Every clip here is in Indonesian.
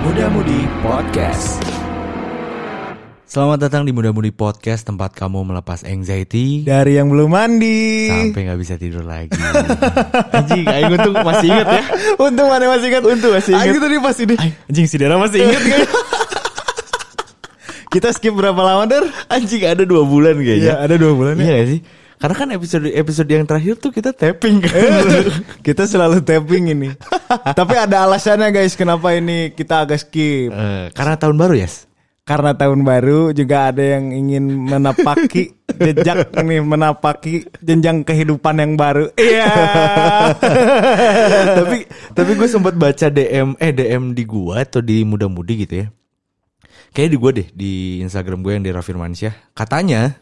Muda Mudi Podcast. Selamat datang di Muda Mudi Podcast tempat kamu melepas anxiety Dari yang belum mandi. sampai nggak bisa tidur lagi. Anjing, aing untung masih inget ya. Untung mana masih ingat. Untung masih ingat. Aing tadi pas ini. Ay, Anjing si Dera masih inget kan? Kita skip berapa lama der? Anjing ada dua bulan Iya kayaknya. ada dua bulan Iya ya. gak sih? Karena kan episode episode yang terakhir tuh kita tapping kan. kita selalu tapping ini. Tapi ada alasannya guys kenapa ini kita agak skip. Eh, karena tahun baru ya. Yes? Karena tahun baru juga ada yang ingin menapaki jejak ini menapaki jenjang kehidupan yang baru. Iya. tapi tapi gue sempat baca DM eh DM di gua atau di muda-mudi gitu ya. Kayaknya di gua deh di Instagram gue yang di Raffi Mansyah. Katanya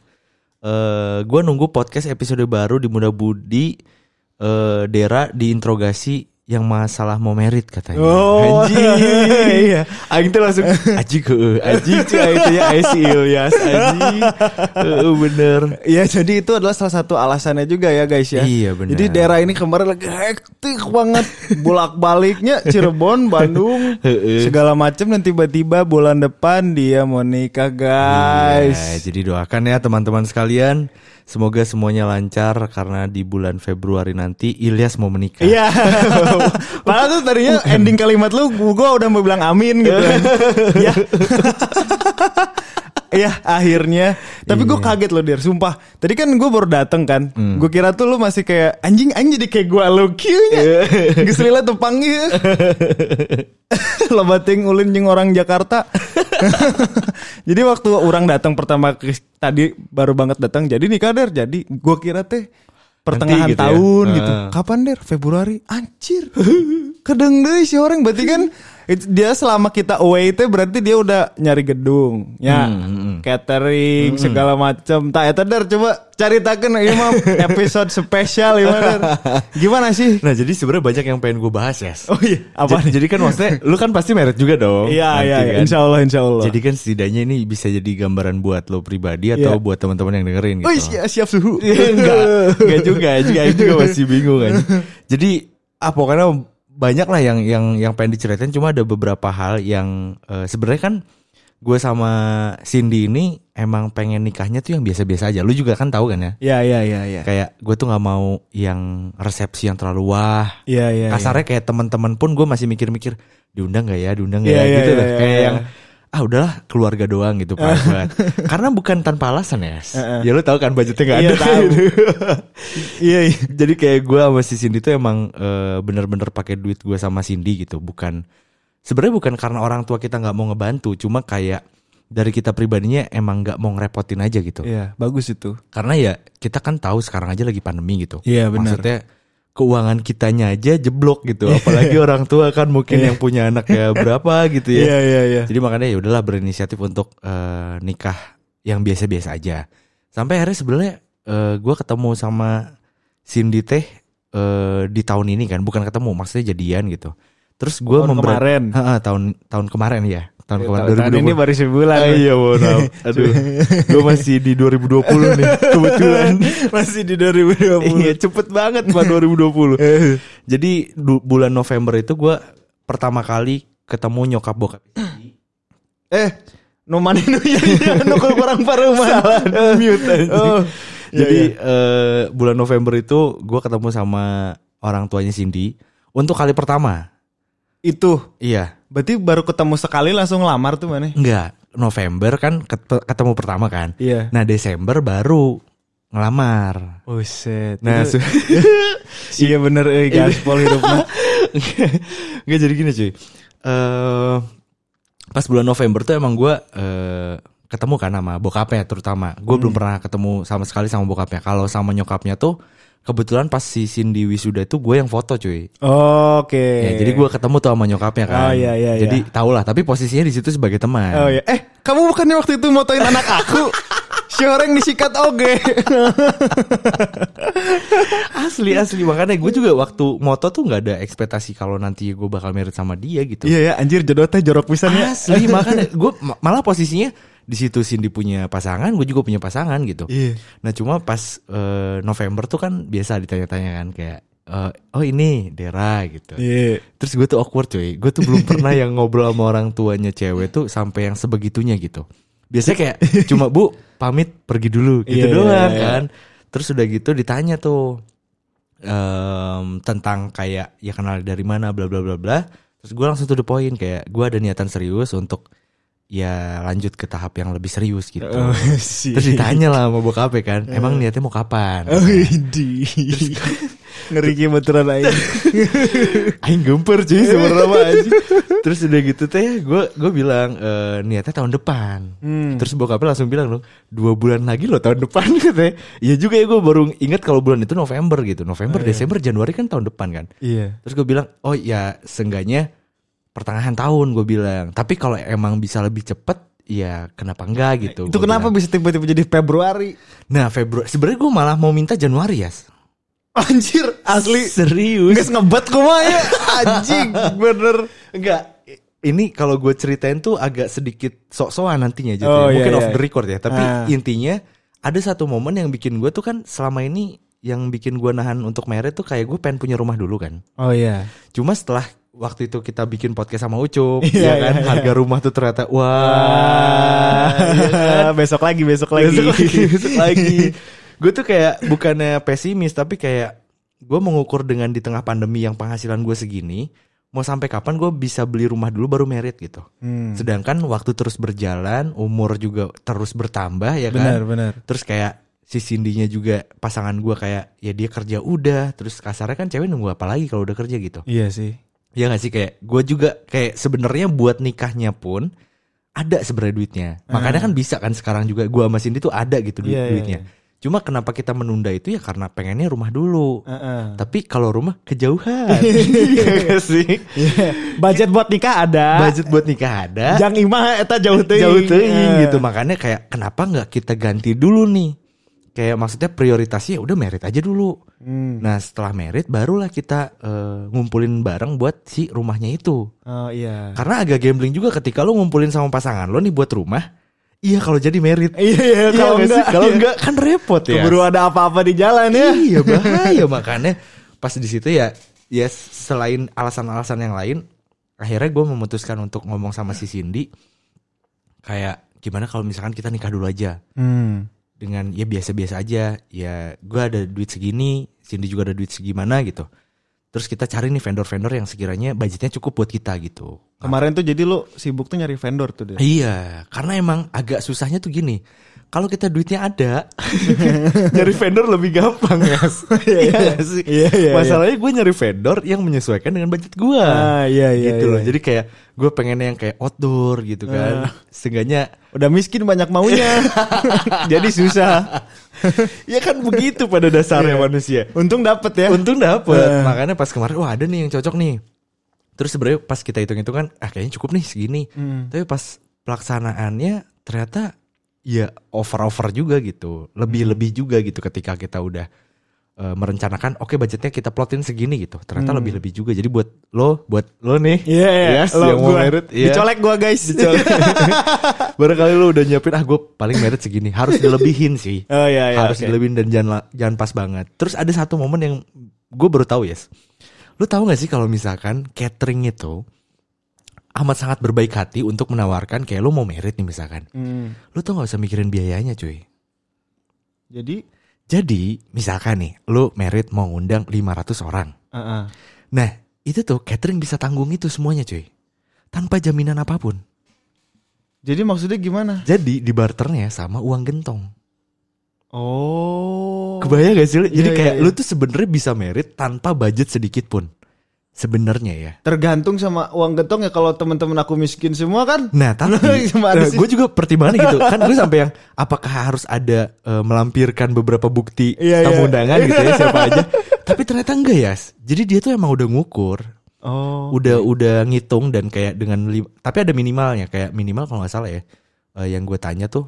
eh gua nunggu podcast episode baru di Muda Budi eh Dera diinterogasi yang masalah mau merit katanya. Oh. Iya. Aing tuh langsung gitu ya aji ke aji cuy Iya, aing tanya aing si Ilyas aji. Heeh, Eh, bener. Iya jadi itu adalah salah satu alasannya juga ya guys ya. Iya, benar. Jadi daerah ini kemarin lagi hektik banget bolak baliknya Cirebon, Bandung, Heeh. segala macam dan tiba-tiba bulan depan dia mau nikah Ya, guys. jadi doakan ya teman-teman sekalian. Semoga semuanya lancar karena di bulan Februari nanti Ilyas mau menikah. Iya. Padahal tuh tadinya ending kalimat lu gua udah mau bilang amin gitu kan. Ya. Iya akhirnya Tapi Iya. gue kaget loh Dir Sumpah Tadi kan gue baru dateng kan Hmm. Gue kira tuh lu masih kayak Anjing anjing jadi kayak gue lo Q-nya Iya. Geselila tepang ieu. Lebating ulin jeung orang Jakarta Jadi waktu orang datang pertama ke- Tadi baru banget datang Jadi nikah Der Jadi gue kira teh Pertengahan Nanti gitu ya. tahun Heeh. gitu Kapan Der? Februari Anjir Kedeng deh si orang Berarti kan it- Dia selama kita away teh Berarti dia udah nyari gedung Ya Hmm, Catering Segala macam Tak eta Der Coba caritakan Ini mah episode spesial Iman Der. Gimana sih? Nah jadi sebenarnya banyak yang pengen gue bahas ya. Oh iya Apa? Jadi, jadi kan maksudnya lu kan pasti merit juga dong. Iya nanti iya kan. Insya Allah Insya Allah Jadi kan setidaknya ini bisa jadi gambaran buat lo pribadi atau Iya. buat teman-teman yang dengerin gitu. Wih, siap, siap suhu. Iya, enggak, enggak juga, juga Aing Iya, juga masih bingung kan. Jadi ah pokoknya banyak lah yang yang yang pengen diceritain cuma ada beberapa hal yang eh, sebenarnya kan gue sama Cindy ini emang pengen nikahnya tuh yang biasa-biasa aja. Lu juga kan tahu kan ya? Ya, ya, ya, ya. Kayak gue tuh nggak mau yang resepsi yang terlalu wah. Ya, ya. ya. Kasarnya kayak teman-teman pun gue masih mikir-mikir diundang nggak ya, diundang nggak Iya, ya iya, gitu iya, lah. iya, kayak iya. yang ah udahlah keluarga doang gitu Pak. Karena bukan tanpa alasan ya. Yes. Ya lu tahu kan budgetnya nggak Iya, ada. tahu. Iya, iya. Jadi kayak gue sama si Cindy tuh emang eh, bener-bener pakai duit gue sama Cindy gitu, bukan sebenarnya bukan karena orang tua kita nggak mau ngebantu, cuma kayak dari kita pribadinya emang nggak mau ngerepotin aja gitu. Iya, bagus itu. Karena ya kita kan tahu sekarang aja lagi pandemi gitu. Iya, benar. Maksudnya keuangan kitanya aja jeblok gitu, apalagi orang tua kan mungkin yang punya anak ya berapa gitu ya. Iya, iya, iya. Jadi makanya ya udahlah berinisiatif untuk eh, nikah yang biasa-biasa aja. Sampai akhirnya sebenarnya eh, gua ketemu sama Cindy teh eh, di tahun ini kan, bukan ketemu, maksudnya jadian gitu. Terus gua Tahun memberan- kemarin. Eh, Iya, Ha-ha, tahun tahun kemarin ya, tahun kemarin Tahun 2020. ini baru sebulan. Ah, iya mohon maaf. Aduh, gue masih di 2020 nih kebetulan. Iya, Masih di 2020. Iya cepet banget pak 2020 Eh, Jadi du- bulan November itu gua pertama kali ketemu nyokap bokap eh, no money no ya, no kurang paruman. mute anjing. Oh. Iya, Jadi eh, bulan November itu gua ketemu sama orang tuanya Cindy Untuk kali pertama Itu Iya berarti baru ketemu sekali langsung lamar tuh mana? Enggak November kan ket- ketemu pertama kan Iya. Nah Desember baru ngelamar Oh shit. Nah Itu- su- iya bener eh gaspol hidupnya. Nggak jadi gini cuy. Eh pas bulan November tuh emang gue eh ketemu kan sama bokapnya terutama. Gue belum Hmm. pernah ketemu sama sekali sama bokapnya. Kalau sama nyokapnya tuh kebetulan pas si Cindy wisuda itu gue yang foto cuy. Oke. Ya, jadi gue ketemu tuh sama nyokapnya kan. Oh, iya, iya, jadi tau lah. Tapi posisinya di situ sebagai teman. Oh ya, eh kamu bukannya waktu itu motoin anak aku? Si orang disikat oge. Asli asli makanya gue juga waktu moto tuh nggak ada ekspektasi kalau nanti gue bakal merit sama dia gitu. Iya ya, anjir jodoh teh jorok pisan ya. Asli makanya gue malah posisinya di situ Cindy punya pasangan, gue juga punya pasangan gitu. Iya. Nah cuma pas eh, November tuh kan biasa ditanya-tanya kan kayak eh, oh ini Dera gitu. Iya. Terus gue tuh awkward cuy. Gue tuh belum pernah yang ngobrol sama orang tuanya cewek tuh sampai yang sebegitunya gitu. Biasanya kayak cuma bu pamit pergi dulu gitu Iya, doang iya, iya. kan. Terus udah gitu ditanya tuh em, tentang kayak ya kenal dari mana bla bla bla bla. Terus gue langsung to the point kayak gue ada niatan serius untuk ya lanjut ke tahap yang lebih serius gitu. Oh, sih. Terus ditanya lah mau bokap ya kan. Emang niatnya mau kapan? Oh, di. Ngeri gemeteran aja. Aing gemper cuy sebenarnya mah, anjing. Terus udah gitu teh gue gue bilang eh, niatnya tahun depan. Hmm. Terus bokapnya langsung bilang loh dua bulan lagi loh tahun depan katanya. Iya juga ya gue baru ingat kalau bulan itu November gitu. November, Desember, Januari kan tahun depan kan. Iya. Terus gue bilang oh ya seenggaknya pertengahan tahun gue bilang. Tapi kalau emang bisa lebih cepet ya kenapa enggak gitu. Itu Gua kenapa bisa tiba-tiba jadi Februari? bilang. Nah Februari sebenarnya gue malah mau minta Januari ya. Anjir, asli. serius. Nges ngebet kumah ya. Anjing, bener. Enggak. i- Ini kalau gue ceritain tuh agak sedikit sok-sokan nantinya jadi Oh, iya, mungkin off iya. the record ya. Tapi Ah. intinya ada satu momen yang bikin gue tuh kan selama ini yang bikin gue nahan untuk married tuh kayak gue pengen punya rumah dulu kan. Oh iya. Cuma setelah waktu itu kita bikin podcast sama Ucup, Iya, ya kan iya, harga rumah tuh Ah, ternyata wah. iya kan? besok lagi, besok lagi. Besok lagi, besok lagi. gue tuh kayak bukannya pesimis tapi kayak gue mengukur dengan di tengah pandemi yang penghasilan gue segini, mau sampai kapan gue bisa beli rumah dulu baru merit gitu. Hmm. Sedangkan waktu terus berjalan, umur juga terus bertambah ya kan. Benar, benar. Terus kayak si Cindy-nya juga pasangan gue kayak ya dia kerja udah, terus kasarnya kan cewek nunggu apa lagi kalau udah kerja gitu. Iya sih. Ya gak sih kayak gue juga kayak sebenarnya buat nikahnya pun ada sebenarnya duitnya. Makanya kan bisa kan sekarang juga gue sama Cindy tuh ada gitu duit- Ah. Iya, iya, duitnya. Cuma kenapa kita menunda itu ya karena pengennya rumah dulu. Ah. Tapi kalau rumah kejauhan. Iya gak sih? kan? Budget buat nikah ada. Budget buat nikah ada. Jang imah eta jauh teuing. Jauh teuing Eh. gitu. Makanya kayak kenapa nggak kita ganti dulu nih? Kayak maksudnya prioritasnya ya udah merit aja dulu. Hmm. Nah setelah merit barulah kita eh, ngumpulin bareng buat si rumahnya itu. Oh iya. Karena agak gambling juga ketika lo ngumpulin sama pasangan lo nih buat rumah. Iya kalau jadi merit. Iya, iya, kalau nggak enggak, sih? kalau iya. enggak kan repot ya. Keburu ada apa-apa di jalan ya. Iya bahaya makanya pas di situ ya ya selain alasan-alasan yang lain akhirnya gue memutuskan untuk ngomong sama si Cindy kayak gimana kalau misalkan kita nikah dulu aja Hmm. dengan ya biasa-biasa aja ya gue ada duit segini Cindy juga ada duit segimana gitu terus kita cari nih vendor-vendor yang sekiranya budgetnya cukup buat kita gitu Kemarin tuh jadi lu sibuk tuh nyari vendor tuh deh. Iya, karena emang agak susahnya tuh gini. Kalau kita duitnya ada, nyari vendor lebih gampang ya. Iya nggak sih. Iya, iya, Masalahnya gue nyari vendor yang menyesuaikan dengan budget gue. Ah, iya, iya, Gitu iya. loh. Ah. Jadi kayak gue pengennya yang kayak outdoor gitu kan. Seenggaknya Udah miskin banyak maunya. jadi susah. ya kan begitu pada dasarnya ya manusia. Iya. Untung dapet ya. Iya. Untung dapet. Eh. Makanya pas kemarin wah ada nih yang cocok nih. Terus sebenarnya pas kita hitung-hitung kan ah kayaknya cukup nih segini. Hmm. Tapi pas pelaksanaannya ternyata ya over-over juga gitu. Hmm. Lebih-lebih juga gitu ketika kita udah eh, merencanakan oke budgetnya kita plotin segini gitu. Ternyata lebih-lebih juga. Jadi buat lo, buat lo nih. Hmm. Iya, iya. Yes, Lo yang mau gua. merit. iya. Dicolek gua guys. Dicolek. Barangkali lo udah nyiapin ah gue paling merit segini. Harus dilebihin sih Oh iya iya. harus oke. dilebihin dan jangan la- jangan pas banget. Terus ada satu momen yang gue baru tahu yes. Lu tahu gak sih kalau misalkan catering itu amat sangat berbaik hati untuk menawarkan kayak lu mau merit nih misalkan. Hmm. Lu tuh gak usah mikirin biayanya cuy. Jadi Jadi misalkan nih lu merit mau ngundang 500 orang. Heeh. Nah itu tuh catering bisa tanggung itu semuanya cuy. Tanpa jaminan apapun. Jadi maksudnya gimana? Jadi di barternya sama uang gentong. Oh. Kebayang gak sih? lu? Jadi Iya, kayak iya, lu tuh sebenarnya bisa merit tanpa budget sedikit pun. Sebenarnya ya. Tergantung sama uang getong ya kalau teman-teman aku miskin semua kan. Nah tapi Cuma ada sih. gue juga pertimbangan gitu kan gue sampai yang apakah harus ada eh, melampirkan beberapa bukti Iya, iya. tamu undangan gitu ya siapa aja tapi ternyata enggak ya jadi dia tuh emang udah ngukur Oh. udah udah ngitung dan kayak dengan lim- tapi ada minimalnya kayak minimal kalau nggak salah ya eh, yang gue tanya tuh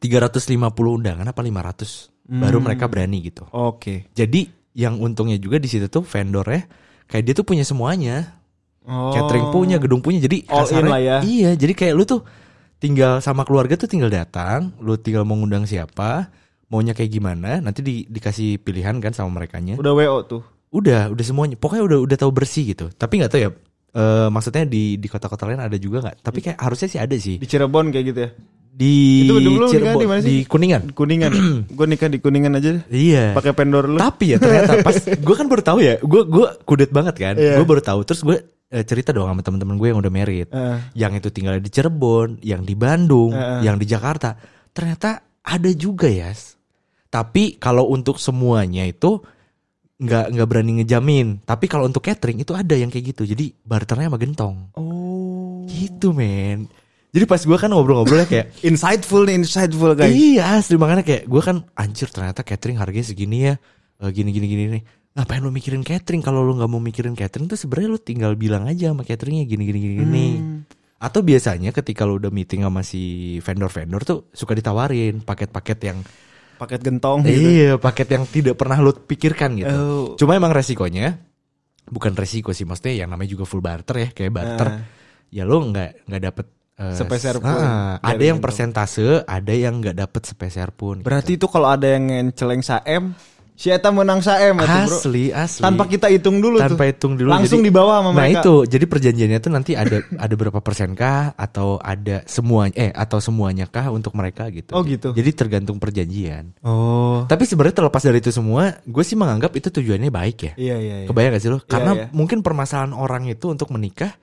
350 undangan apa 500 baru Hmm. mereka berani gitu Oke. jadi yang untungnya juga di situ tuh vendor ya kayak dia tuh punya semuanya Oh. catering punya, gedung punya. Jadi All in kasarnya- lah ya. Iya, jadi kayak lu tuh tinggal sama keluarga tuh tinggal datang, lu tinggal mengundang siapa, maunya kayak gimana nanti di- dikasih pilihan kan sama merekanya Udah WO tuh. udah udah semuanya pokoknya udah udah tahu bersih gitu tapi nggak tahu ya eh, maksudnya di di kota-kota lain ada juga nggak tapi kayak harusnya sih ada sih Di Cirebon kayak gitu ya. di Itu dulu lu nikah Cirebon- di mana sih? di kuningan Di Kuningan. gue nikah di Kuningan aja deh. iya Pakai pendor lu. Tapi ya ternyata pas gue kan baru tahu ya, gue gue kudet banget kan, gue baru tahu. Terus gue cerita dong sama teman-teman gue yang udah married, Iya. Heeh. yang itu tinggal di Cirebon, yang di Bandung, Heeh. yang di Jakarta. Ternyata ada juga ya. Tapi kalau untuk semuanya itu nggak nggak berani ngejamin. Tapi kalau untuk catering itu ada yang kayak gitu. Jadi barternya sama gentong. Oh. Gitu men. Jadi pas gue kan ngobrol-ngobrolnya kayak Insightful nih, insightful guys. Iya asli makanya kayak gue kan anjir ternyata catering harganya segini ya eh, gini gini gini nih ngapain lu mikirin catering kalau lu nggak mau mikirin catering tuh sebenarnya lu tinggal bilang aja sama cateringnya gini gini gini gini. atau biasanya ketika lu udah meeting sama si vendor vendor tuh suka ditawarin paket-paket yang Paket gentong gitu. iya paket yang tidak pernah lu pikirkan gitu Oh. cuma emang resikonya bukan resiko sih maksudnya yang namanya juga full barter ya kayak barter Ah. ya lu nggak nggak dapet eh, Sepeser s- pun ah, ada dari yang itu. persentase ada yang nggak dapet sepeser pun gitu. Berarti itu kalau ada yang ngenceleng saem, si Eta menang saem atuh, bro. asli asli Tanpa kita hitung dulu tuh. tanpa hitung dulu Langsung jadi- dibawa sama nah mereka. itu jadi perjanjiannya tuh nanti ada ada berapa persen kah atau ada semuanya eh atau semuanya kah untuk mereka gitu Oh, gitu. jadi tergantung perjanjian Oh. tapi sebenarnya terlepas dari itu semua gue sih menganggap itu tujuannya baik ya Iya iya iya. kebayang gak sih lo karena iya. mungkin permasalahan orang itu untuk menikah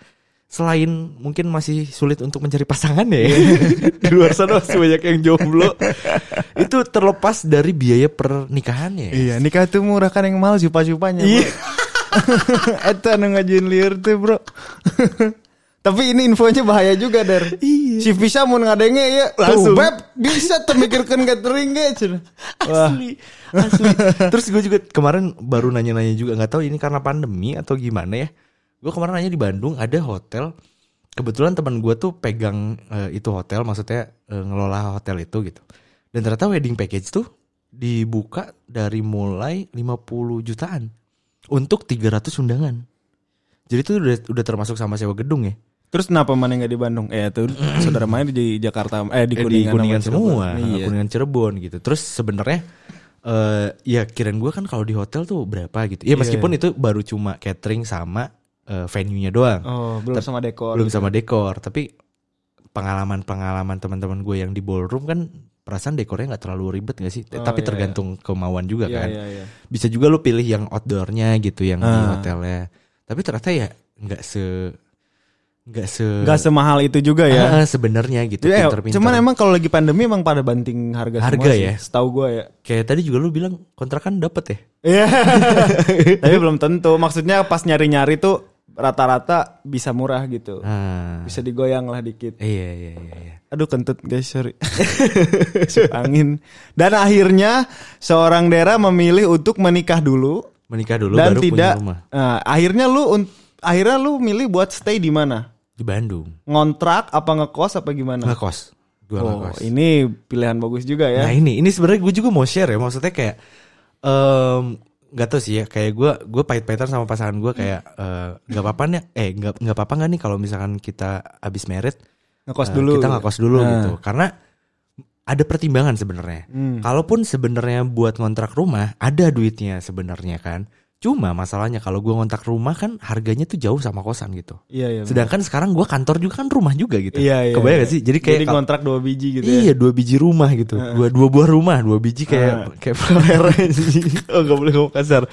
selain mungkin masih sulit untuk mencari pasangan ya Iya. di luar sana masih banyak yang jomblo itu terlepas dari biaya pernikahannya Iya, nikah tuh murah kan yang mahal cupa-cupanya. Iya. Eta anu ngajuin liur tuh, Bro. Tapi ini infonya bahaya juga, Der. Iya. Si Visa mau ngadenge ya. Tuh, Langsung. Beb, bisa termikirkan catering ge. cenah. Wah, asli asli terus gue juga kemarin baru nanya-nanya juga nggak tahu ini karena pandemi atau gimana ya gue kemarin nanya di Bandung ada hotel kebetulan teman gue tuh pegang eh, itu hotel maksudnya eh, ngelola hotel itu gitu dan ternyata wedding package tuh dibuka dari mulai 50 jutaan untuk 300 undangan jadi itu udah udah termasuk sama sewa gedung ya terus kenapa mana nggak di Bandung? Eh, tuh saudara main di Jakarta eh di Eh, Kuningan, di kuningan sama Cirebon. semua Iya. kuningan Cirebon gitu terus sebenarnya eh ya kirain gue kan kalau di hotel tuh berapa gitu Iya. ya meskipun itu baru cuma catering sama eh, venue-nya doang Oh, belum sama dekor. belum sama dekor tapi pengalaman pengalaman teman-teman gue yang di ballroom kan perasaan dekornya nggak terlalu ribet gak sih iya, tapi tergantung kemauan juga Iya, kan iya, iya. bisa juga lu pilih yang outdoornya gitu yang di Ah. hotelnya tapi ternyata ya nggak se nggak se Nggak semahal itu juga ya. Ah, sebenarnya gitu Iya, pinter-pinter. cuman emang kalau lagi pandemi emang pada banting harga, semua Harga sih, ya? Setahu gua ya. Kayak tadi juga lu bilang kontrakan dapet ya? Iya. Tapi belum tentu. Maksudnya pas nyari-nyari tuh rata-rata bisa murah gitu. Ah, Bisa digoyang lah dikit. iya iya iya. iya. Aduh kentut guys, sorry. Masuk angin. Dan akhirnya seorang Dera memilih untuk menikah dulu Menikah dulu dan baru tidak punya rumah Nah, akhirnya lu un- akhirnya lu milih buat stay di mana? di Bandung. Ngontrak apa ngekos apa gimana? Ngekos. Gua Nah. Oh, ngekos. ini pilihan bagus juga ya. Nah ini ini sebenarnya gue juga mau share ya maksudnya kayak em nggak tau sih ya kayak gue gue pahit-pahitan sama pasangan gue kayak eh, nggak apa-apa nih eh nggak nggak apa-apa nggak nih kalau misalkan kita abis merit Ngekos eh, dulu. kita ngekos dulu Nah. gitu karena ada pertimbangan sebenarnya Hmm. kalaupun sebenarnya buat ngontrak rumah ada duitnya sebenarnya kan cuma masalahnya kalau gue ngontrak rumah kan harganya tuh jauh sama kosan gitu Iya, iya. sedangkan sekarang gue kantor juga kan rumah juga gitu Iya, iya. kebayang iya. gak sih jadi kayak Jadi kontrak dua biji gitu ya. Iya dua biji rumah gitu, dua dua buah rumah, dua biji kayak kayak flare anjing. Oh gak boleh ngomong kasar.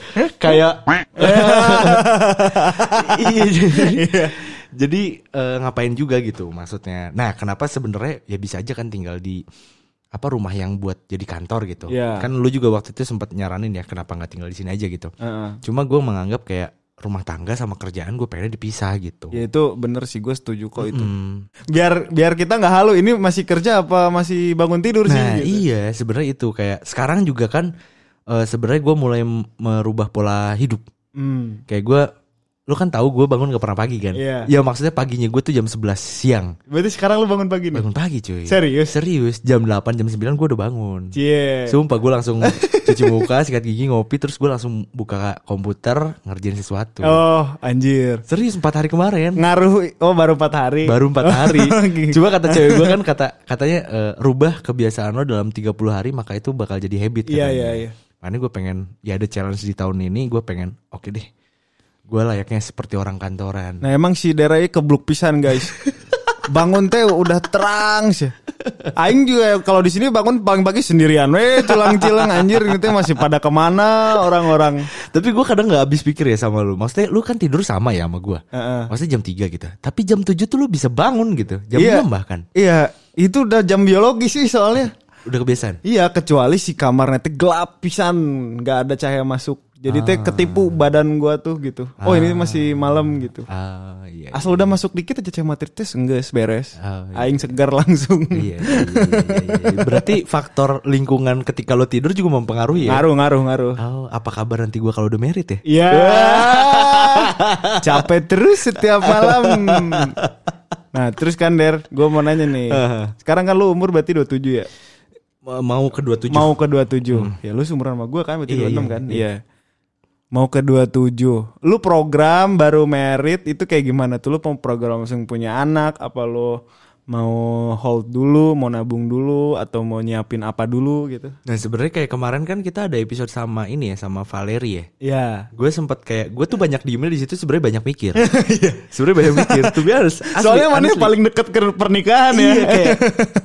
Kayak iya. jadi- Jadi eh, ngapain juga gitu maksudnya. Nah kenapa sebenarnya ya bisa aja kan tinggal di apa rumah yang buat jadi kantor gitu. Iya. Kan lu juga waktu itu sempat nyaranin ya kenapa nggak tinggal di sini aja gitu. Heeh. Cuma gue menganggap kayak rumah tangga sama kerjaan gue pengen dipisah gitu. Ya itu bener sih gue setuju kok itu. Hmm. Biar biar kita nggak halu ini masih kerja apa masih bangun tidur sih Nah gitu. iya sebenarnya itu kayak sekarang juga kan eh, sebenarnya gue mulai m- merubah pola hidup Hmm. kayak gue lu kan tahu gue bangun gak pernah pagi kan? Iya. Ya maksudnya paginya gue tuh jam 11 siang. Berarti sekarang lu bangun pagi nih. Bangun pagi cuy. Serius? Serius, jam 8 jam 9 gue udah bangun. Cie. Sumpah gue langsung cuci muka, sikat gigi, ngopi terus gue langsung buka komputer ngerjain sesuatu. Oh, anjir. Serius 4 hari kemarin. Ngaruh oh baru 4 hari. Baru 4 hari. Gitu. Coba kata cewek gue kan kata katanya eh, rubah kebiasaan lo dalam 30 hari maka itu bakal jadi Iya, habit katanya. iya, iya. Makanya gue pengen ya ada challenge di tahun ini gue pengen oke deh. Gue layaknya seperti orang kantoran. Nah, emang si Derai kebluk pisan, guys. bangun teh udah terang sih. Aing juga kalau di sini bangun pagi-pagi sendirian. Weh, cilang-cilang anjir ini teh masih pada kemana orang-orang. Tapi gue kadang nggak habis pikir ya sama lu. Maksudnya lu kan tidur sama ya sama gue. Heeh. Maksudnya jam 3 gitu. Tapi jam 7 tuh lu bisa bangun gitu. Jam Iya. 6 bahkan. Iya, itu udah jam biologis sih soalnya. Udah kebiasaan. Iya, kecuali si kamarnya teh gelap pisan, nggak ada cahaya masuk. Jadi teh Ah. ketipu badan gua tuh gitu. Oh, ini masih malam gitu. Ah iya. Asal udah masuk dikit aja cahaya materi tes enggak beres. Ah, iya. Aing segar langsung. Iya, iya, iya, iya, iya. Berarti faktor lingkungan ketika lo tidur juga mempengaruhi ya. Ngaruh, ngaruh, ngaruh. Oh, apa kabar nanti gua kalau udah merit ya? Iya. Capek terus setiap malam. Nah, terus kan Der, gue mau nanya nih. Sekarang kan lu umur berarti 27 ya? Ma- Mau ke 27. Mau ke 27. Ya lu seumuran sama gue kan berarti Hmm. Iya, 26 iya, kan? Iya. Mau ke 27. Lu program baru merit itu kayak gimana tuh? Lu mau program langsung punya anak apa lu mau hold dulu, mau nabung dulu atau mau nyiapin apa dulu gitu? Nah, sebenarnya kayak kemarin kan kita ada episode sama ini ya sama Valeri ya. Iya. Gue sempet kayak gue tuh banyak di email di situ sebenarnya banyak mikir. sebenarnya banyak mikir. Tuh biasa. Soalnya mana paling deket ke pernikahan ya? Iya kayak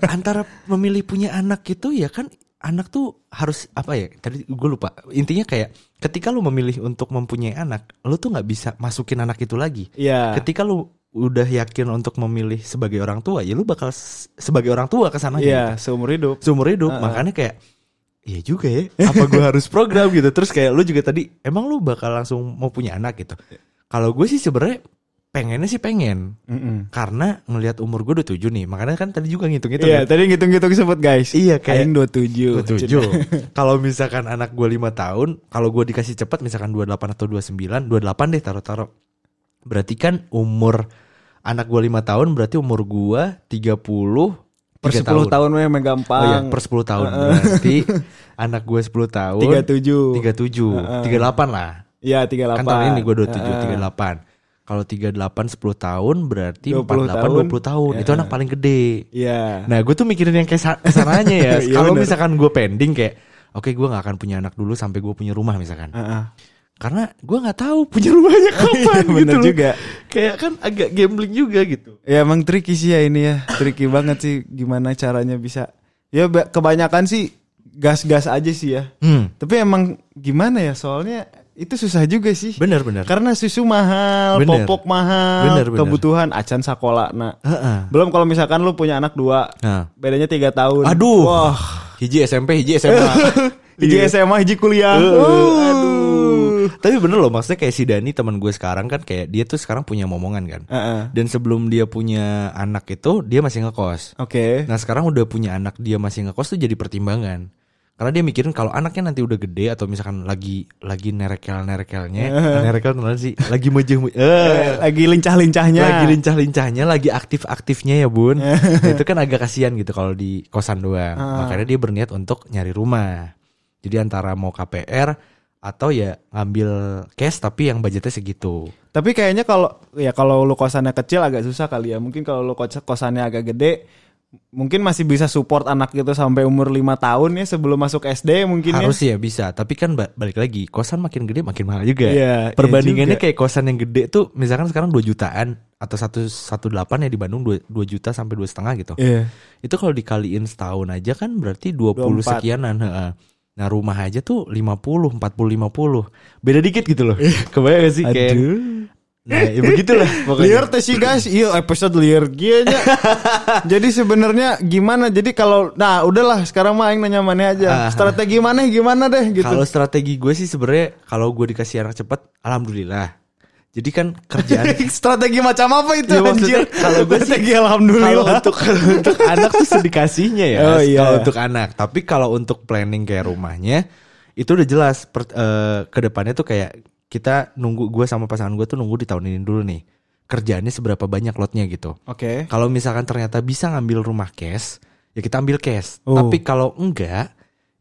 antara memilih punya anak itu ya kan anak tuh harus apa ya tadi gue lupa intinya kayak ketika lu memilih untuk mempunyai anak lu tuh nggak bisa masukin anak itu lagi Iya. ketika lu udah yakin untuk memilih sebagai orang tua ya lu bakal s- sebagai orang tua kesana Iya, seumur hidup. seumur hidup makanya kayak iya juga ya apa gue harus program gitu terus kayak lu juga tadi emang lu bakal langsung mau punya anak gitu Iya. kalau gue sih sebenarnya pengennya sih pengen karena ngelihat umur gue 27 nih makanya kan tadi juga ngitung-ngitung Iya, ya. tadi ngitung-ngitung sebut guys. Iya, kayak- Aing 27. 27 kalau misalkan anak gue 5 tahun kalau gue dikasih cepat misalkan 28 atau 29 28 deh taruh-taruh berarti kan umur anak gue 5 tahun berarti umur gue 30 Per 10 tiga tahun, mah emang gampang. Oh iya, per 10 tahun. Berarti anak gue 10 tahun. 37. 37. 38 lah. Iya, 38. Kan tahun ini gue Eh, 27, 38. Kalau 38 10 tahun berarti 20 48 tahun. 20 tahun. Itu anak paling gede. Iya. Nah, gue tuh mikirin yang kesa- kesananya ya. Iya, Kalau bener. misalkan gue pending kayak oke gue nggak akan punya anak dulu sampai gue punya rumah misalkan. Heeh. Karena gue nggak tahu punya rumahnya kapan Iya, gitu. bener loh. juga. Kayak kan agak gambling juga gitu. Ya emang tricky sih ya ini ya. Tricky banget sih gimana caranya bisa. Ya ba- kebanyakan sih gas-gas aja sih ya. Hmm. Tapi emang gimana ya soalnya itu susah juga sih. Bener bener. Karena susu mahal, Bener. popok mahal, Bener, bener. kebutuhan acan sakola. Nah, Heeh. belum kalau misalkan lu punya anak dua, Nah. bedanya tiga tahun. Aduh. Wah, Hiji SMP, hiji SMA. hiji SMA, hiji kuliah. Eh, Uh. aduh. Tapi bener loh maksudnya kayak si Dani teman gue sekarang kan kayak dia tuh sekarang punya momongan kan. Heeh. Dan sebelum dia punya anak itu dia masih ngekos. Oke. Nah sekarang udah punya anak dia masih ngekos tuh jadi pertimbangan. Karena dia mikirin kalau anaknya nanti udah gede atau misalkan lagi lagi nerekel nerekelnya, nerekel teman sih, lagi mejeh Eh, lagi lincah-lincahnya. lagi lincah-lincahnya, lagi aktif-aktifnya ya bun. Nah, itu kan agak kasihan gitu kalau di kosan doang. Makanya dia berniat untuk nyari rumah. Jadi antara mau KPR atau ya ngambil cash tapi yang budgetnya segitu. Tapi kayaknya kalau ya kalau lu kosannya kecil agak susah kali ya. Mungkin kalau lu kos- kosannya agak gede mungkin masih bisa support anak gitu sampai umur 5 tahun ya sebelum masuk SD mungkin ya. Harus ya bisa, tapi kan ba- balik lagi kosan makin gede makin mahal juga. Iya, iya Perbandingannya juga. kayak kosan yang gede tuh misalkan sekarang 2 jutaan atau satu satu delapan ya di Bandung 2, juta sampai dua setengah gitu. Iya. Itu kalau dikaliin setahun aja kan berarti 20 24. sekianan. heeh. Nah rumah aja tuh 50, 40, 50. Beda dikit gitu loh. Iya. Kebayang gak sih? Kayak, nah ya begitulah pokoknya. Liar teh sih guys, iya episode liar nya Jadi sebenarnya gimana? Jadi kalau nah udahlah sekarang mah aing nanya mana aja. Strategi mana gimana deh gitu. Kalau strategi gue sih sebenarnya kalau gue dikasih anak cepat, alhamdulillah. Jadi kan kerjaan Strategi macam apa itu Ya, maksudnya kalau gue sih- Strategi kalau alhamdulillah. untuk kalau untuk anak tuh sedikasinya ya. Oh, iya. Kalau untuk anak, tapi kalau untuk planning kayak rumahnya itu udah jelas per, eh, ke depannya tuh kayak kita nunggu gue sama pasangan gue tuh nunggu di tahun ini dulu nih kerjaannya seberapa banyak lotnya gitu Oke. kalau misalkan ternyata bisa ngambil rumah cash ya kita ambil cash Oh. tapi kalau enggak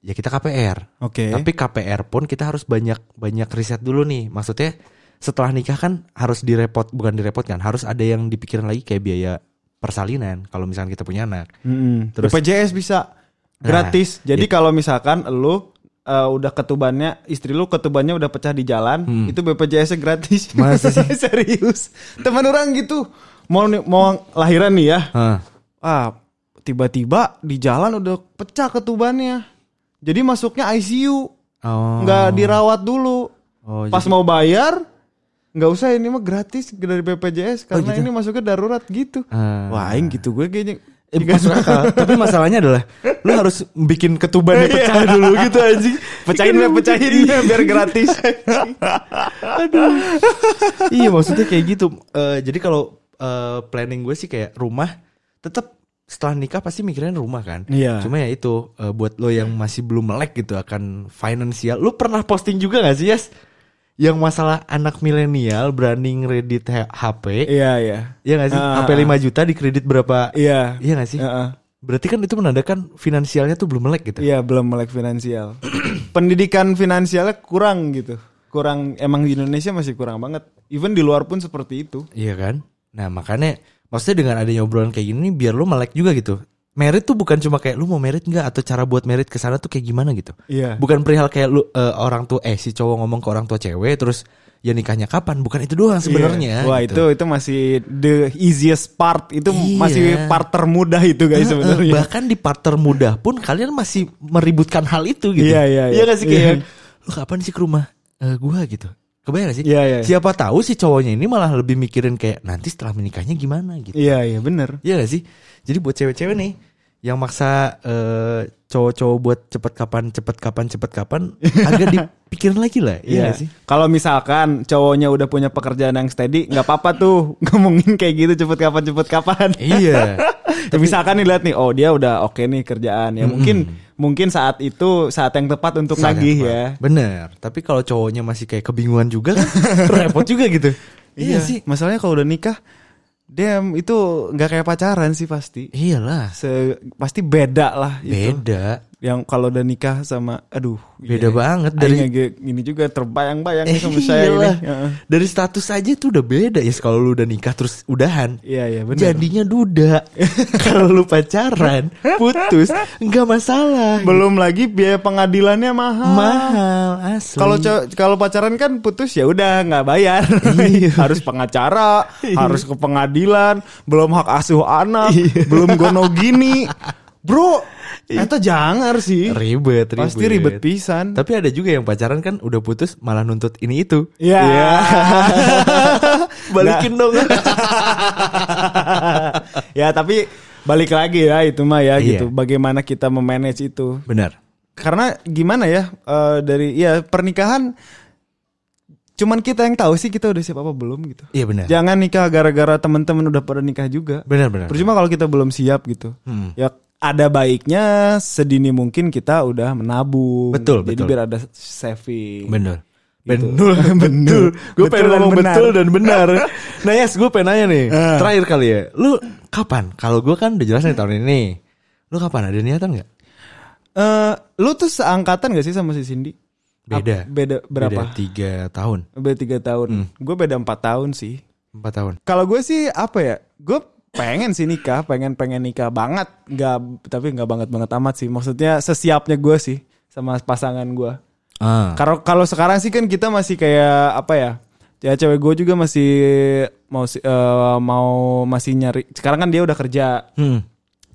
ya kita KPR Oke. tapi KPR pun kita harus banyak banyak riset dulu nih. Maksudnya setelah nikah kan harus direpot bukan direpotkan, harus ada yang dipikirin lagi kayak biaya persalinan kalau misalkan kita punya anak. Mm-mm. Terus- Nah, BPJS bisa gratis. Jadi kalau misalkan lu eh, udah ketubannya istri lu ketubannya udah pecah di jalan, itu BPJS-nya gratis. Hmm. Masa sih? Serius. Teman orang gitu mau ni- mau lahiran nih ya. Hah. Ah, tiba-tiba di jalan udah pecah ketubannya. Jadi masuknya ICU, Oh. nggak dirawat dulu. Oh, Pas mau bayar nggak usah ini mah gratis dari BPJS karena ini masuknya darurat gitu. Oh, Ah. Wah, aing gitu gue kayaknya. Eh, masuk akal. Tapi masalahnya adalah lu harus bikin ketubannya pecah dulu gitu anjing. Iya. pecahin Iya, Beb, pecahin Beb, biar gratis. iya maksudnya kayak gitu Eh, jadi kalau eh, planning gue sih kayak rumah tetap setelah nikah pasti mikirin rumah kan Iya. cuma ya itu eh, buat lo yang masih belum melek gitu akan finansial lu pernah posting juga gak sih Yas yang masalah anak milenial berani ngeredit H- HP Iya, iya. Iya gak sih? Ah, HP 5 juta dikredit berapa? Iya. Iya gak sih? Heeh. Berarti kan itu menandakan finansialnya tuh belum melek gitu. Iya, belum melek finansial. Pendidikan finansialnya kurang gitu. Kurang emang di Indonesia masih kurang banget. Even di luar pun seperti itu. Iya kan? Nah makanya maksudnya dengan adanya obrolan kayak gini nih, biar lu melek juga gitu. Merit tuh bukan cuma kayak lu mau merit nggak atau cara buat merit ke sana tuh kayak gimana gitu. Iya. Bukan perihal kayak lu eh, orang tuh eh si cowok ngomong ke orang tua cewek terus ya nikahnya kapan? Bukan itu doang Iya. sebenarnya. Wah, gitu. itu itu masih the easiest part. Itu Iya. masih part termudah itu guys Eh, eh, sebenarnya. bahkan di partner muda pun kalian masih meributkan hal itu gitu. Iya, iya, iya. nggak sih kayak Iya. lu kapan sih ke rumah Eh, gua gitu. Kebayang nggak sih? Iya, iya. Siapa tahu si cowoknya ini malah lebih mikirin kayak nanti setelah menikahnya gimana gitu. Iya, iya, bener. Iya gak sih? Jadi buat cewek-cewek nih yang maksa eh, cowok-cowok buat cepet kapan, cepet kapan, cepet kapan, agak dipikirin lagi lah. Iya Iya gak sih? Kalau misalkan cowoknya udah punya pekerjaan yang steady, nggak apa-apa tuh ngomongin kayak gitu cepet kapan cepet kapan. Iya. Ya, misalkan nih lihat nih, oh dia udah oke nih kerjaan ya mungkin mungkin saat itu saat yang tepat untuk Sangat nagih tepat. ya. Bener. Tapi kalau cowoknya masih kayak kebingungan juga kan, repot juga gitu. Iya, sih. Masalahnya kalau udah nikah, damn itu nggak kayak pacaran sih pasti. Iyalah. Se- pasti beda lah itu. Beda. Yang kalau udah nikah sama, aduh. iya. Beda banget Aing dari lagi ini juga terbayang-bayang Kan nih sama Eh, saya ini. iyalah. Heeh. Dari status aja tuh udah beda ya kalau lu udah nikah terus udahan. Iya iya benar. Jadinya duda. kalau lu pacaran, putus, nggak masalah. belum lagi biaya pengadilannya mahal. mahal asli. Ah. Kalau cow- kalau pacaran kan putus ya udah nggak bayar. Iya. harus pengacara, harus ke pengadilan, belum hak asuh anak, Iya. belum gono gini. Bro, itu jangan sih. ribet, ribet. Pasti ribet pisan. Tapi ada juga yang pacaran kan udah putus malah nuntut ini itu. Iya. Ya. Balikin dong. ya, tapi balik lagi ya itu mah ya Iya. gitu. Bagaimana kita memanage itu? Benar. Karena gimana ya eh, dari ya pernikahan cuman kita yang tahu sih kita udah siap apa belum gitu. Iya benar. Jangan nikah gara-gara teman-teman udah pada nikah juga. Benar benar. Percuma kalau kita belum siap gitu. Kan. Hmm. Ya ada baiknya sedini mungkin kita udah menabung. Betul, Jadi betul. biar ada saving. Benar. Gitu. Benul, benul. Gue Betul pengen dan ngomong benar. betul dan benar. Nah, yes, gue pengen nanya nih. Eh. Terakhir kali ya. Lu kapan? Kalau gue kan udah jelas nih tahun ini. Lu kapan ada niatan nggak? Eh, lu tuh seangkatan gak sih sama si Cindy? Beda. Ap- Beda berapa? Beda Hmm. tiga tahun, Beda tiga tahun. Gue beda empat tahun sih. empat tahun. Kalau gue sih apa ya? Gue pengen sih nikah, pengen pengen nikah banget. Nggak tapi nggak banget banget amat sih. Maksudnya sesiapnya gue sih sama pasangan gue. Ah. Kalau kalau sekarang sih kan kita masih kayak apa ya? Ya cewek gue juga masih mau si- eh, mau masih nyari. Sekarang kan dia udah kerja, Hmm.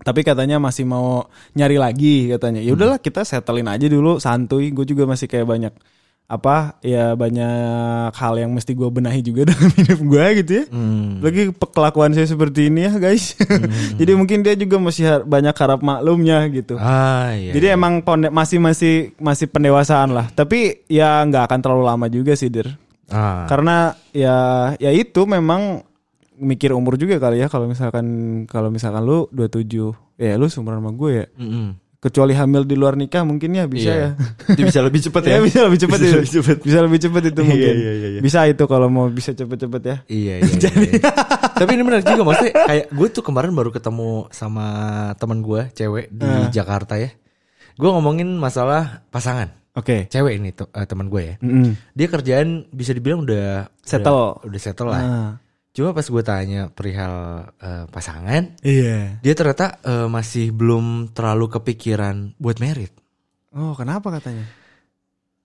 tapi katanya masih mau nyari lagi katanya. Ya udahlah kita settlein aja dulu santuy. Gue juga masih kayak banyak apa ya banyak hal yang mesti gue benahi juga dalam hidup gue gitu ya. Hmm. Lagi pe- kelakuan saya seperti ini ya guys. Jadi mungkin dia juga masih har- banyak harap maklumnya gitu. Ah, iya. Jadi emang ponde- masih masih masih pendewasaan lah. Tapi ya nggak akan terlalu lama juga sih, Dir. Ah. Karena ya ya itu memang mikir umur juga kali ya kalau misalkan kalau misalkan lu 27. Ya lu seumuran sama gue ya. Mm-mm. kecuali hamil di luar nikah mungkin ya bisa Iya. ya. Itu bisa lebih cepat ya. Ya, bisa lebih cepat Bisa itu. lebih cepat. Bisa lebih cepat itu Iya, mungkin. iya, iya, iya. Bisa itu kalau mau bisa cepet-cepet ya. Iya, iya, iya, iya. Tapi ini menarik juga maksudnya kayak gue tuh kemarin baru ketemu sama teman gue cewek di Ah. Jakarta ya. Gue ngomongin masalah pasangan. Oke. Cewek ini te- eh, teman gue ya. Mm-mm. Dia kerjaan bisa dibilang udah Settle. Udah, udah settle lah. Ah. Cuma pas gue tanya perihal eh, pasangan, Iya. dia ternyata eh, masih belum terlalu kepikiran buat merit. Oh, kenapa katanya?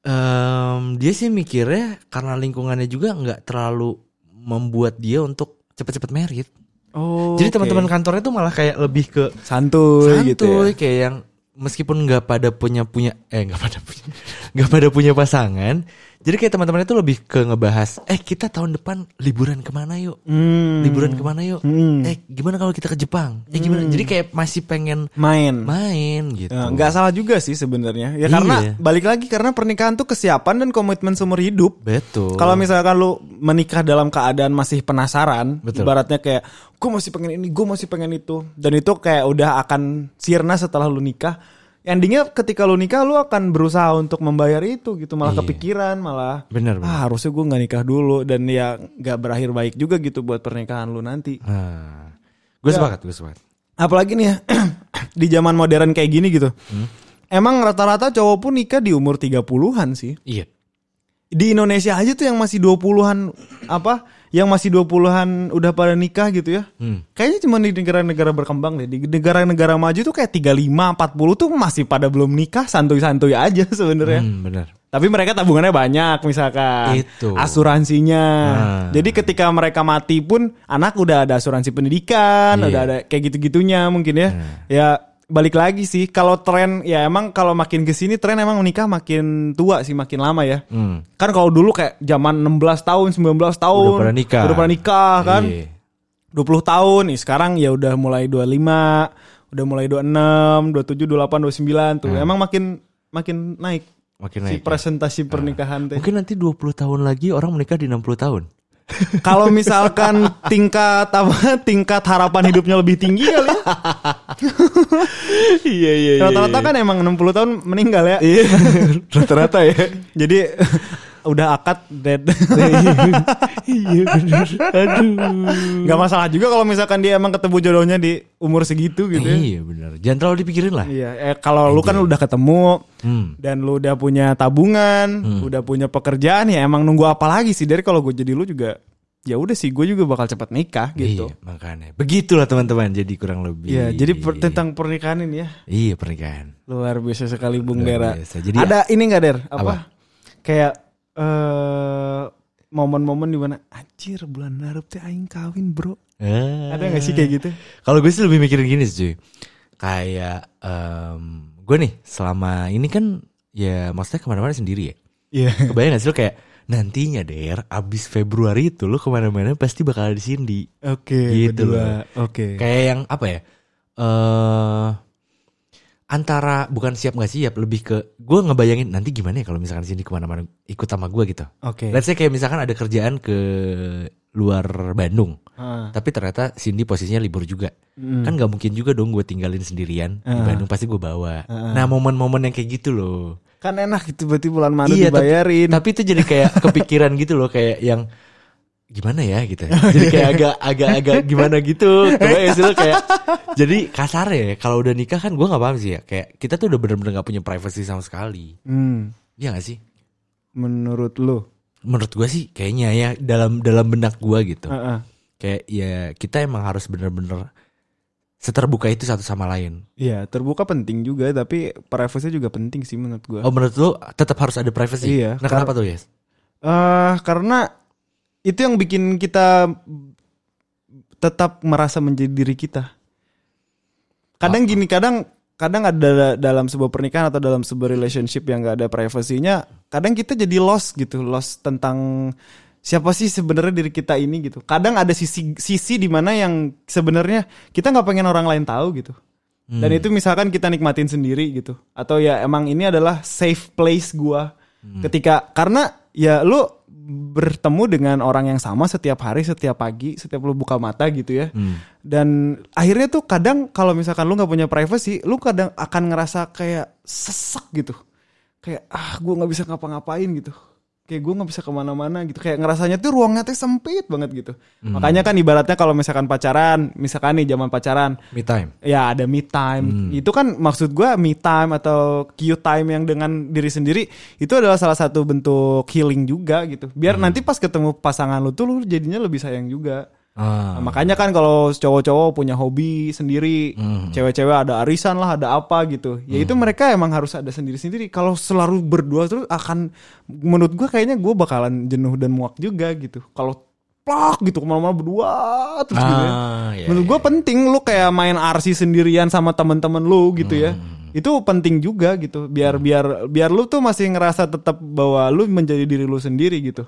Em, dia sih mikirnya karena lingkungannya juga nggak terlalu membuat dia untuk cepet-cepet merit. Oh. Jadi oke. teman-teman kantornya tuh malah kayak lebih ke santuy, santuy gitu ya. kayak yang meskipun nggak pada punya punya eh nggak pada punya nggak pada punya pasangan. Jadi kayak teman-temannya tuh lebih ke ngebahas eh kita tahun depan liburan kemana yuk? Hmm. Liburan kemana yuk? Hmm. Eh gimana kalau kita ke Jepang? Eh gimana? Jadi kayak masih pengen main. main gitu. Ya, nggak salah juga sih sebenarnya. Ya Iya. karena balik lagi karena pernikahan tuh kesiapan dan komitmen seumur hidup. Betul. Kalau misalkan lu menikah dalam keadaan masih penasaran, Betul. ibaratnya kayak gue masih pengen ini, gue masih pengen itu, dan itu kayak udah akan sirna setelah lu nikah. Endingnya ketika lu nikah lu akan berusaha untuk membayar itu gitu, malah Iya. kepikiran, malah Benar, benar. ah, harusnya gue nggak nikah dulu dan ya nggak berakhir baik juga gitu buat pernikahan lu nanti. Nah, gue Ya. sepakat, gue sepakat. Apalagi nih ya di zaman modern kayak gini gitu. Emang rata-rata cowok pun nikah di umur 30-an sih. Iya. di Indonesia aja tuh yang masih 20-an apa yang masih 20-an udah pada nikah gitu ya. Hmm. Kayaknya cuma di negara-negara berkembang deh. Di negara-negara maju tuh kayak 35, 40 tuh masih pada belum nikah, santuy-santuy aja sebenarnya. Hmm, benar. Tapi mereka tabungannya banyak misalkan. Itu. Asuransinya. Hmm. Jadi ketika mereka mati pun anak udah ada asuransi pendidikan, Iya. Nah. udah ada kayak gitu-gitunya mungkin ya. Ya balik lagi sih kalau tren ya emang kalau makin kesini tren emang nikah makin tua sih makin lama ya. Hmm. Kan kalau dulu kayak zaman 16 tahun, 19 tahun Udah pada nikah. Udah pada nikah kan. Iya. 20 tahun. Nih sekarang ya udah mulai 25, udah mulai 26, 27, 28, 29 Nah. tuh. Emang makin makin naik Makin si naik. ya. presentasi pernikahan teh. Mungkin nanti 20 tahun lagi orang menikah di 60 tahun. Kalau misalkan tingkat apa tingkat harapan hidupnya lebih tinggi kali. ya. iya, iya, Rata-rata kan emang 60 tahun meninggal ya. Rata-rata ya. Jadi udah akad dead. iya, benar. Aduh. Gak masalah juga kalau misalkan dia emang ketemu jodohnya di umur segitu gitu. ya. Iya, benar. Jangan terlalu dipikirin lah. Iya, eh, kalau lu kan udah ketemu Hmm. dan lu udah punya tabungan, udah punya pekerjaan ya emang nunggu apa lagi sih dari kalau gue jadi lu juga ya udah sih gue juga bakal cepat nikah gitu. Iya, makanya. Begitulah teman-teman, jadi kurang lebih. Iya, jadi per- tentang pernikahan ini ya Iya, pernikahan. luar biasa sekali Bung Luar Dera. biasa. Jadi Ada ini nggak Der? Apa? Apa? Kayak eh momen-momen di mana anjir bulan Narep teh aing kawin, Bro. Eh. Ada nggak sih kayak gitu? Kalau gue sih lebih mikirin gini sih cuy Kayak em, Gue nih selama ini kan Ya maksudnya kemana-mana sendiri ya Iya. Kebayang gak sih lo kayak Nantinya Der Abis Februari itu lo kemana-mana pasti bakal di Cindy Oke, Gitu berdua. Oke. Kayak yang apa ya eh Antara bukan siap gak siap Lebih ke Gue ngebayangin nanti gimana ya Kalau misalkan Cindy kemana-mana ikut sama gue gitu Oke. Let's say kayak misalkan ada kerjaan ke luar Bandung Ah. tapi ternyata Cindy posisinya libur juga. mm. Hmm. Kan gak mungkin juga dong gue tinggalin sendirian di Bandung pasti gue bawa. Nah momen-momen yang kayak gitu loh. Kan enak gitu berarti bulan madu Iya, tapi- dibayarin. Tapi, itu jadi kayak kepikiran gitu loh kayak yang gimana ya gitu. Jadi kayak agak agak agak gimana gitu. Kebayang sih lo kayak jadi kasar ya kalau udah nikah kan gue nggak paham sih ya kayak kita tuh udah bener-bener nggak punya privacy sama sekali. Hmm, Iya gak sih? menurut lu? Menurut gue sih kayaknya ya dalam dalam benak gue gitu. Heeh. kayak ya kita emang harus bener-bener seterbuka itu satu sama lain. Iya, terbuka penting juga tapi privacy juga penting sih menurut gua. Oh menurut lu tetap harus ada privacy? Iya, Nah kenapa tuh Yes? eh karena itu yang bikin kita tetap merasa menjadi diri kita. Kadang gini, kadang kadang ada dalam sebuah pernikahan atau dalam sebuah relationship yang gak ada privasinya, kadang kita jadi lost gitu, lost tentang siapa sih sebenarnya diri kita ini gitu. Kadang ada sisi sisi di mana yang sebenarnya kita nggak pengen orang lain tahu gitu. Dan itu misalkan kita nikmatin sendiri gitu. Atau ya emang ini adalah safe place gua ketika karena ya lu bertemu dengan orang yang sama setiap hari, setiap pagi, setiap lu buka mata gitu ya. Hmm. Dan akhirnya tuh kadang kalau misalkan lu nggak punya privacy, lu kadang akan ngerasa kayak sesek gitu. Kayak ah gue nggak bisa ngapa-ngapain gitu. Kayak gue nggak bisa kemana-mana gitu. Kayak ngerasanya tuh ruangnya tuh sempit banget gitu. Makanya kan ibaratnya kalau misalkan pacaran, misalkan nih zaman pacaran, Me time. Ya ada me time. Itu kan maksud gua me time atau Q time yang dengan diri sendiri itu adalah salah satu bentuk healing juga gitu. Biar nanti pas ketemu pasangan lu tuh lu jadinya lebih sayang juga. Ah. Nah, makanya kan kalau cowok-cowok punya hobi sendiri, cewek-cewek ada arisan lah, ada apa gitu. Ya itu mereka emang harus ada sendiri-sendiri. Kalau selalu berdua terus akan menurut gua kayaknya gua bakalan jenuh dan muak juga gitu. Kalau plak gitu kemana-mana berdua terus gitu ya. Ah, iya, Menurut gue penting lu kayak main RC sendirian sama temen-temen lu gitu ya. Hmm. Itu penting juga gitu. Biar biar biar lu tuh masih ngerasa tetap bahwa lu menjadi diri lu sendiri gitu.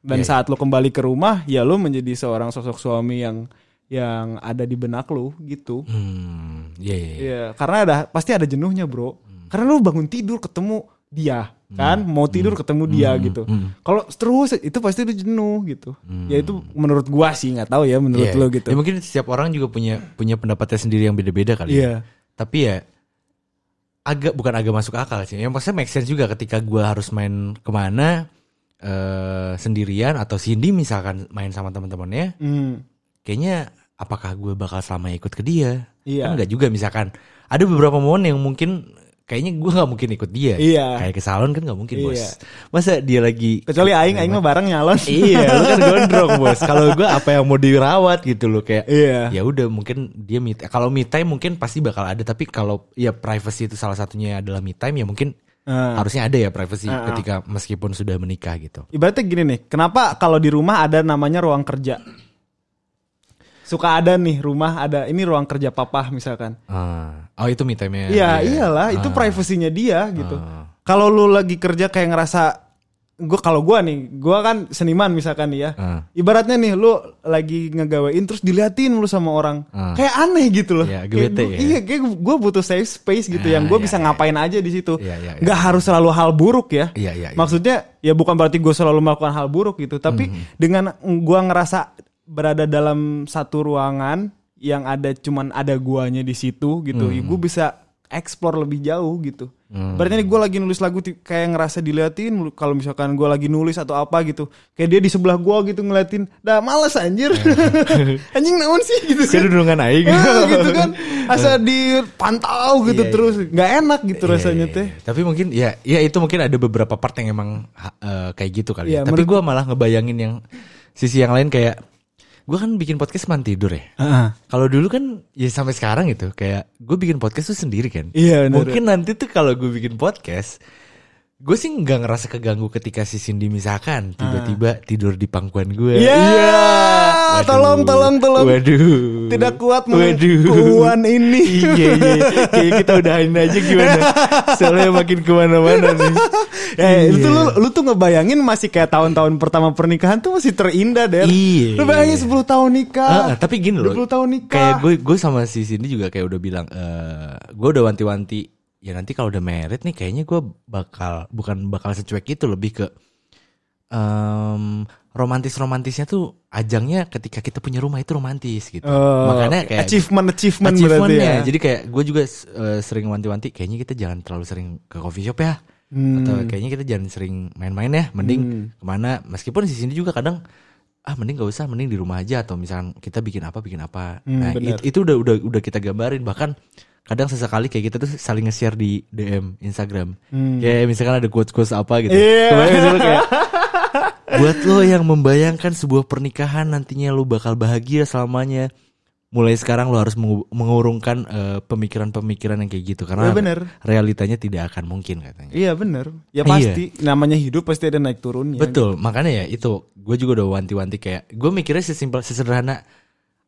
Iya, Dan saat lu kembali ke rumah ya lu menjadi seorang sosok suami yang yang ada di benak lu gitu. Hmm, iya, iya, iya. Iya, karena ada pasti ada jenuhnya, Bro. Hmm. Karena lu bangun tidur ketemu dia, kan? Mau tidur Hmm. ketemu dia gitu. Kalau terus itu pasti lu jenuh gitu. Ya itu menurut gua sih nggak tahu ya menurut Hmm. Iya. lu gitu. Ya, mungkin setiap orang juga punya punya pendapatnya sendiri yang beda-beda Iya. kali. ya. Tapi ya agak bukan agak masuk akal sih. Yang maksudnya make sense juga ketika gua harus main kemana eh sendirian atau Cindy misalkan main sama teman-temannya, Hmm. kayaknya apakah gue bakal selama ikut ke dia? Iya. Kan enggak juga misalkan. Ada beberapa momen yang mungkin kayaknya gua nggak mungkin ikut dia. Iya. Kayak ke salon kan nggak mungkin bos. Iya. Masa dia lagi Kecuali aing aing mah bareng nyalon. iya, lu kan gondrong bos. Kalau gue apa yang mau dirawat gitu loh kayak. Iya. Ya udah mungkin dia me time. Kalau me time mungkin pasti bakal ada. Tapi kalau ya privacy itu salah satunya adalah me time ya mungkin Ah. harusnya ada ya privacy ketika meskipun sudah menikah gitu. Ibaratnya gini nih, kenapa kalau di rumah ada namanya ruang kerja? Suka ada nih rumah ada ini ruang kerja papa misalkan. Ah. oh itu me time ya. Iya, iyalah, itu Ah. privasinya dia gitu. Kalau lu lagi kerja kayak ngerasa gua kalau gua nih, gua kan seniman misalkan nih ya. Ah. Ibaratnya nih lu lagi ngegawein terus diliatin lu sama orang. Ah. Kayak aneh gitu loh. Iya, Kayak bete gua- ya. Iya, kayak gua butuh safe space gitu yang gua iya, bisa ngapain aja di situ. Iya, iya, iya. Nggak harus selalu hal buruk ya. Iya, iya, iya. Maksudnya ya bukan berarti gue selalu melakukan hal buruk gitu, tapi Mhm. dengan gua ngerasa berada dalam satu ruangan yang ada cuman ada guanya di situ Mhm. gitu, ya gue bisa explore lebih jauh gitu. Berarti nih gue lagi nulis lagu ti- kayak ngerasa diliatin, mulu. kalau misalkan gua lagi nulis atau apa gitu, kayak dia di sebelah gua gitu ngeliatin, dah males anjir, anjing naon sih gitu kan. Kedudungan aing. Ah, gitu kan, asal dipantau gitu terus, nggak enak gitu rasanya Iya, teh. iya. Tapi mungkin ya ya itu mungkin ada beberapa part yang emang ha- eh, kayak gitu kali. Iya, ya. Tapi gua malah ngebayangin yang sisi yang lain kayak gua kan bikin podcast man tidur ya. Kalau dulu kan ya sampai sekarang gitu kayak gue bikin podcast tuh sendiri kan. Iya, bener. Mungkin nanti tuh kalau gue bikin podcast Gue sih nggak ngerasa keganggu ketika si Cindy misalkan tiba-tiba tidur di pangkuan gue. Ah. Iya. Ya, Waduh. Tolong, tolong, tolong. Waduh. Tidak kuat Waduh. mengkuan ini. Iya, iya. Kayaknya kita udahin aja gimana. Soalnya makin kemana-mana nih. Iya. Eh, itu lu, lu tuh ngebayangin masih kayak tahun-tahun pertama pernikahan tuh masih terindah deh. Iya. Lu bayangin 10 tahun nikah. Ah, tapi gini loh. 20 tahun nikah. Kayak gue gue sama si Cindy juga kayak udah bilang eh gue udah wanti-wanti ya nanti kalau udah married nih kayaknya gue bakal bukan bakal secuek itu lebih ke em romantis-romantisnya tuh ajangnya ketika kita punya rumah itu romantis gitu. Eh, Makanya kayak achievement achievement Achievement berarti ya. ya. Jadi kayak gue juga eh, sering wanti-wanti kayaknya kita jangan terlalu sering ke coffee shop ya. Hmm. Atau kayaknya kita jangan sering main-main ya, mending kemana meskipun di sini juga kadang ah mending gak usah, mending di rumah aja atau misalkan kita bikin apa bikin apa. Hmm, nah, bener. it- itu udah udah udah kita gambarin bahkan kadang sesekali kayak kita tuh saling nge-share di DM Instagram. Kayak misalkan ada quotes-quotes apa gitu. Hmm. Iya. Kebayang misalnya kayak Buat lo yang membayangkan sebuah pernikahan nantinya lo bakal bahagia selamanya. Mulai sekarang lo harus mengu- mengurungkan eh, pemikiran-pemikiran yang kayak gitu karena Ya, bener. realitanya tidak akan mungkin katanya. Iya bener. Ya Iya. pasti namanya hidup pasti ada naik turunnya. Betul, makanya ya itu gue juga udah wanti-wanti kayak gue mikirnya sesimpel sesederhana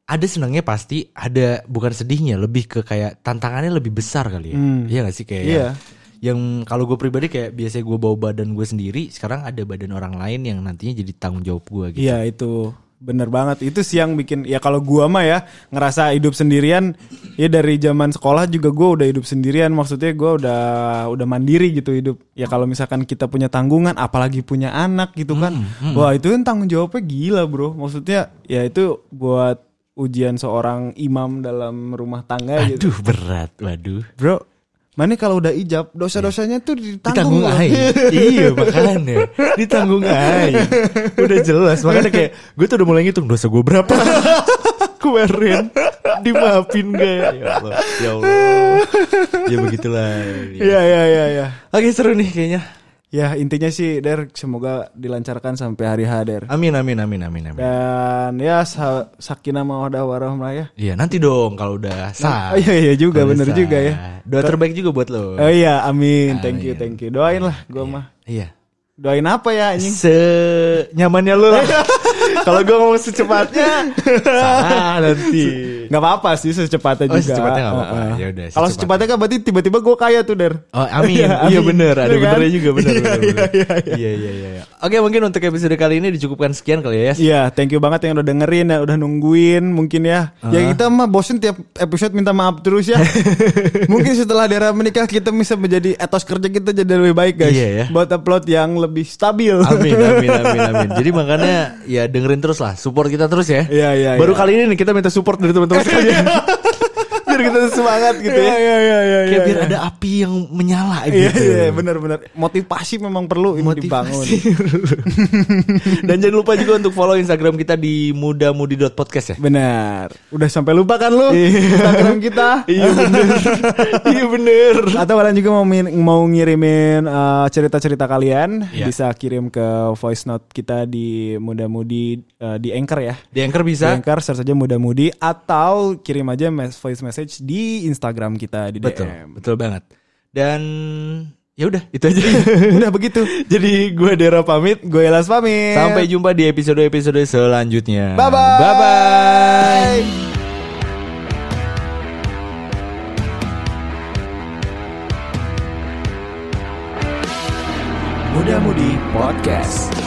ada senangnya pasti, ada bukan sedihnya, lebih ke kayak tantangannya lebih besar kali ya. Iya gak sih kayak Iya. yang kalau gue pribadi kayak biasanya gue bawa badan gue sendiri, sekarang ada badan orang lain yang nantinya jadi tanggung jawab gue gitu. Iya itu. Bener banget. Itu sih yang bikin ya kalau gua mah ya ngerasa hidup sendirian ya dari zaman sekolah juga gua udah hidup sendirian. Maksudnya gua udah udah mandiri gitu hidup. Ya kalau misalkan kita punya tanggungan apalagi punya anak gitu kan. Hmm, Wah, itu kan tanggung jawabnya gila, Bro. Maksudnya ya itu buat ujian seorang imam dalam rumah tangga gitu. Aduh berat, waduh. Bro, mana kalau udah ijab dosa-dosanya tuh ditanggung. Ditanggung loh. aja. iya makanya. Ditanggung aja. Udah jelas. Makanya kayak gue tuh udah mulai ngitung dosa gue berapa. Kemarin dimaafin gak ya? Ya Allah. Ya, Allah. ya begitulah. Iya, iya, iya, iya. Oke seru nih kayaknya. Ya, intinya sih Der semoga dilancarkan sampai hari H Der. Amin amin amin amin amin. Dan ya sa sakinah mawaddah warahmah ya. Iya nanti dong kalau udah Oh, sah. iya iya juga Kalau bener sah. juga ya. Doa terbaik juga buat lo. Oh iya amin. Thank you thank you. Doain lah gua mah. Iya. Doain apa ya anjing? Senyamannya lo. lah. kalau gue ngomong secepatnya salah nanti. Gak apa-apa sih secepatnya Oh, juga. secepatnya nggak apa-apa. Heeh. Ya udah, Kalau secepatnya. secepatnya kan berarti tiba-tiba gua kaya tuh Der. Oh, amin. Iya, Iya amin. bener, ada Iya kan? benernya juga bener. Iya, bener, iya, bener. iya, Iya iya iya. iya. Oke, mungkin untuk episode kali ini dicukupkan sekian kali ya. Yas. Iya, thank you banget yang udah dengerin, yang udah nungguin mungkin ya. Ya kita mah bosen tiap episode minta maaf terus ya. mungkin setelah daerah menikah kita bisa menjadi etos kerja kita jadi lebih baik guys. Iya, ya. Buat upload yang lebih stabil. Amin amin amin amin. Jadi makanya ya dengerin terus lah, support kita terus ya. Iya, iya, Baru iya. kali ini nih kita minta support dari teman-teman sekalian. biar kita semangat gitu ya. Iya, iya, iya, iya, Kayak iya, biar iya. ada api yang menyala Iya, gitu. iya, benar-benar. Motivasi memang perlu ini dibangun. Motivasi. Dan jangan lupa juga untuk follow Instagram kita di mudamudi.podcast ya. Benar. Udah sampai lupa kan lu Instagram kita? Iya bener Iya bener Atau kalian juga mau min- mau ngirimin uh, cerita-cerita kalian Iya. bisa kirim ke voice note kita di muda-mudi uh, di Anchor ya. Di Anchor Di bisa Anchor search aja muda-mudi atau kirim aja mes- voice message di Instagram kita di Betul, DM. betul banget. Dan ya udah itu aja. Udah begitu. Jadi gue Dera pamit. Gue Elas pamit. Sampai jumpa di episode-episode selanjutnya. Bye-bye. Bye bye. Muda-mudi podcast.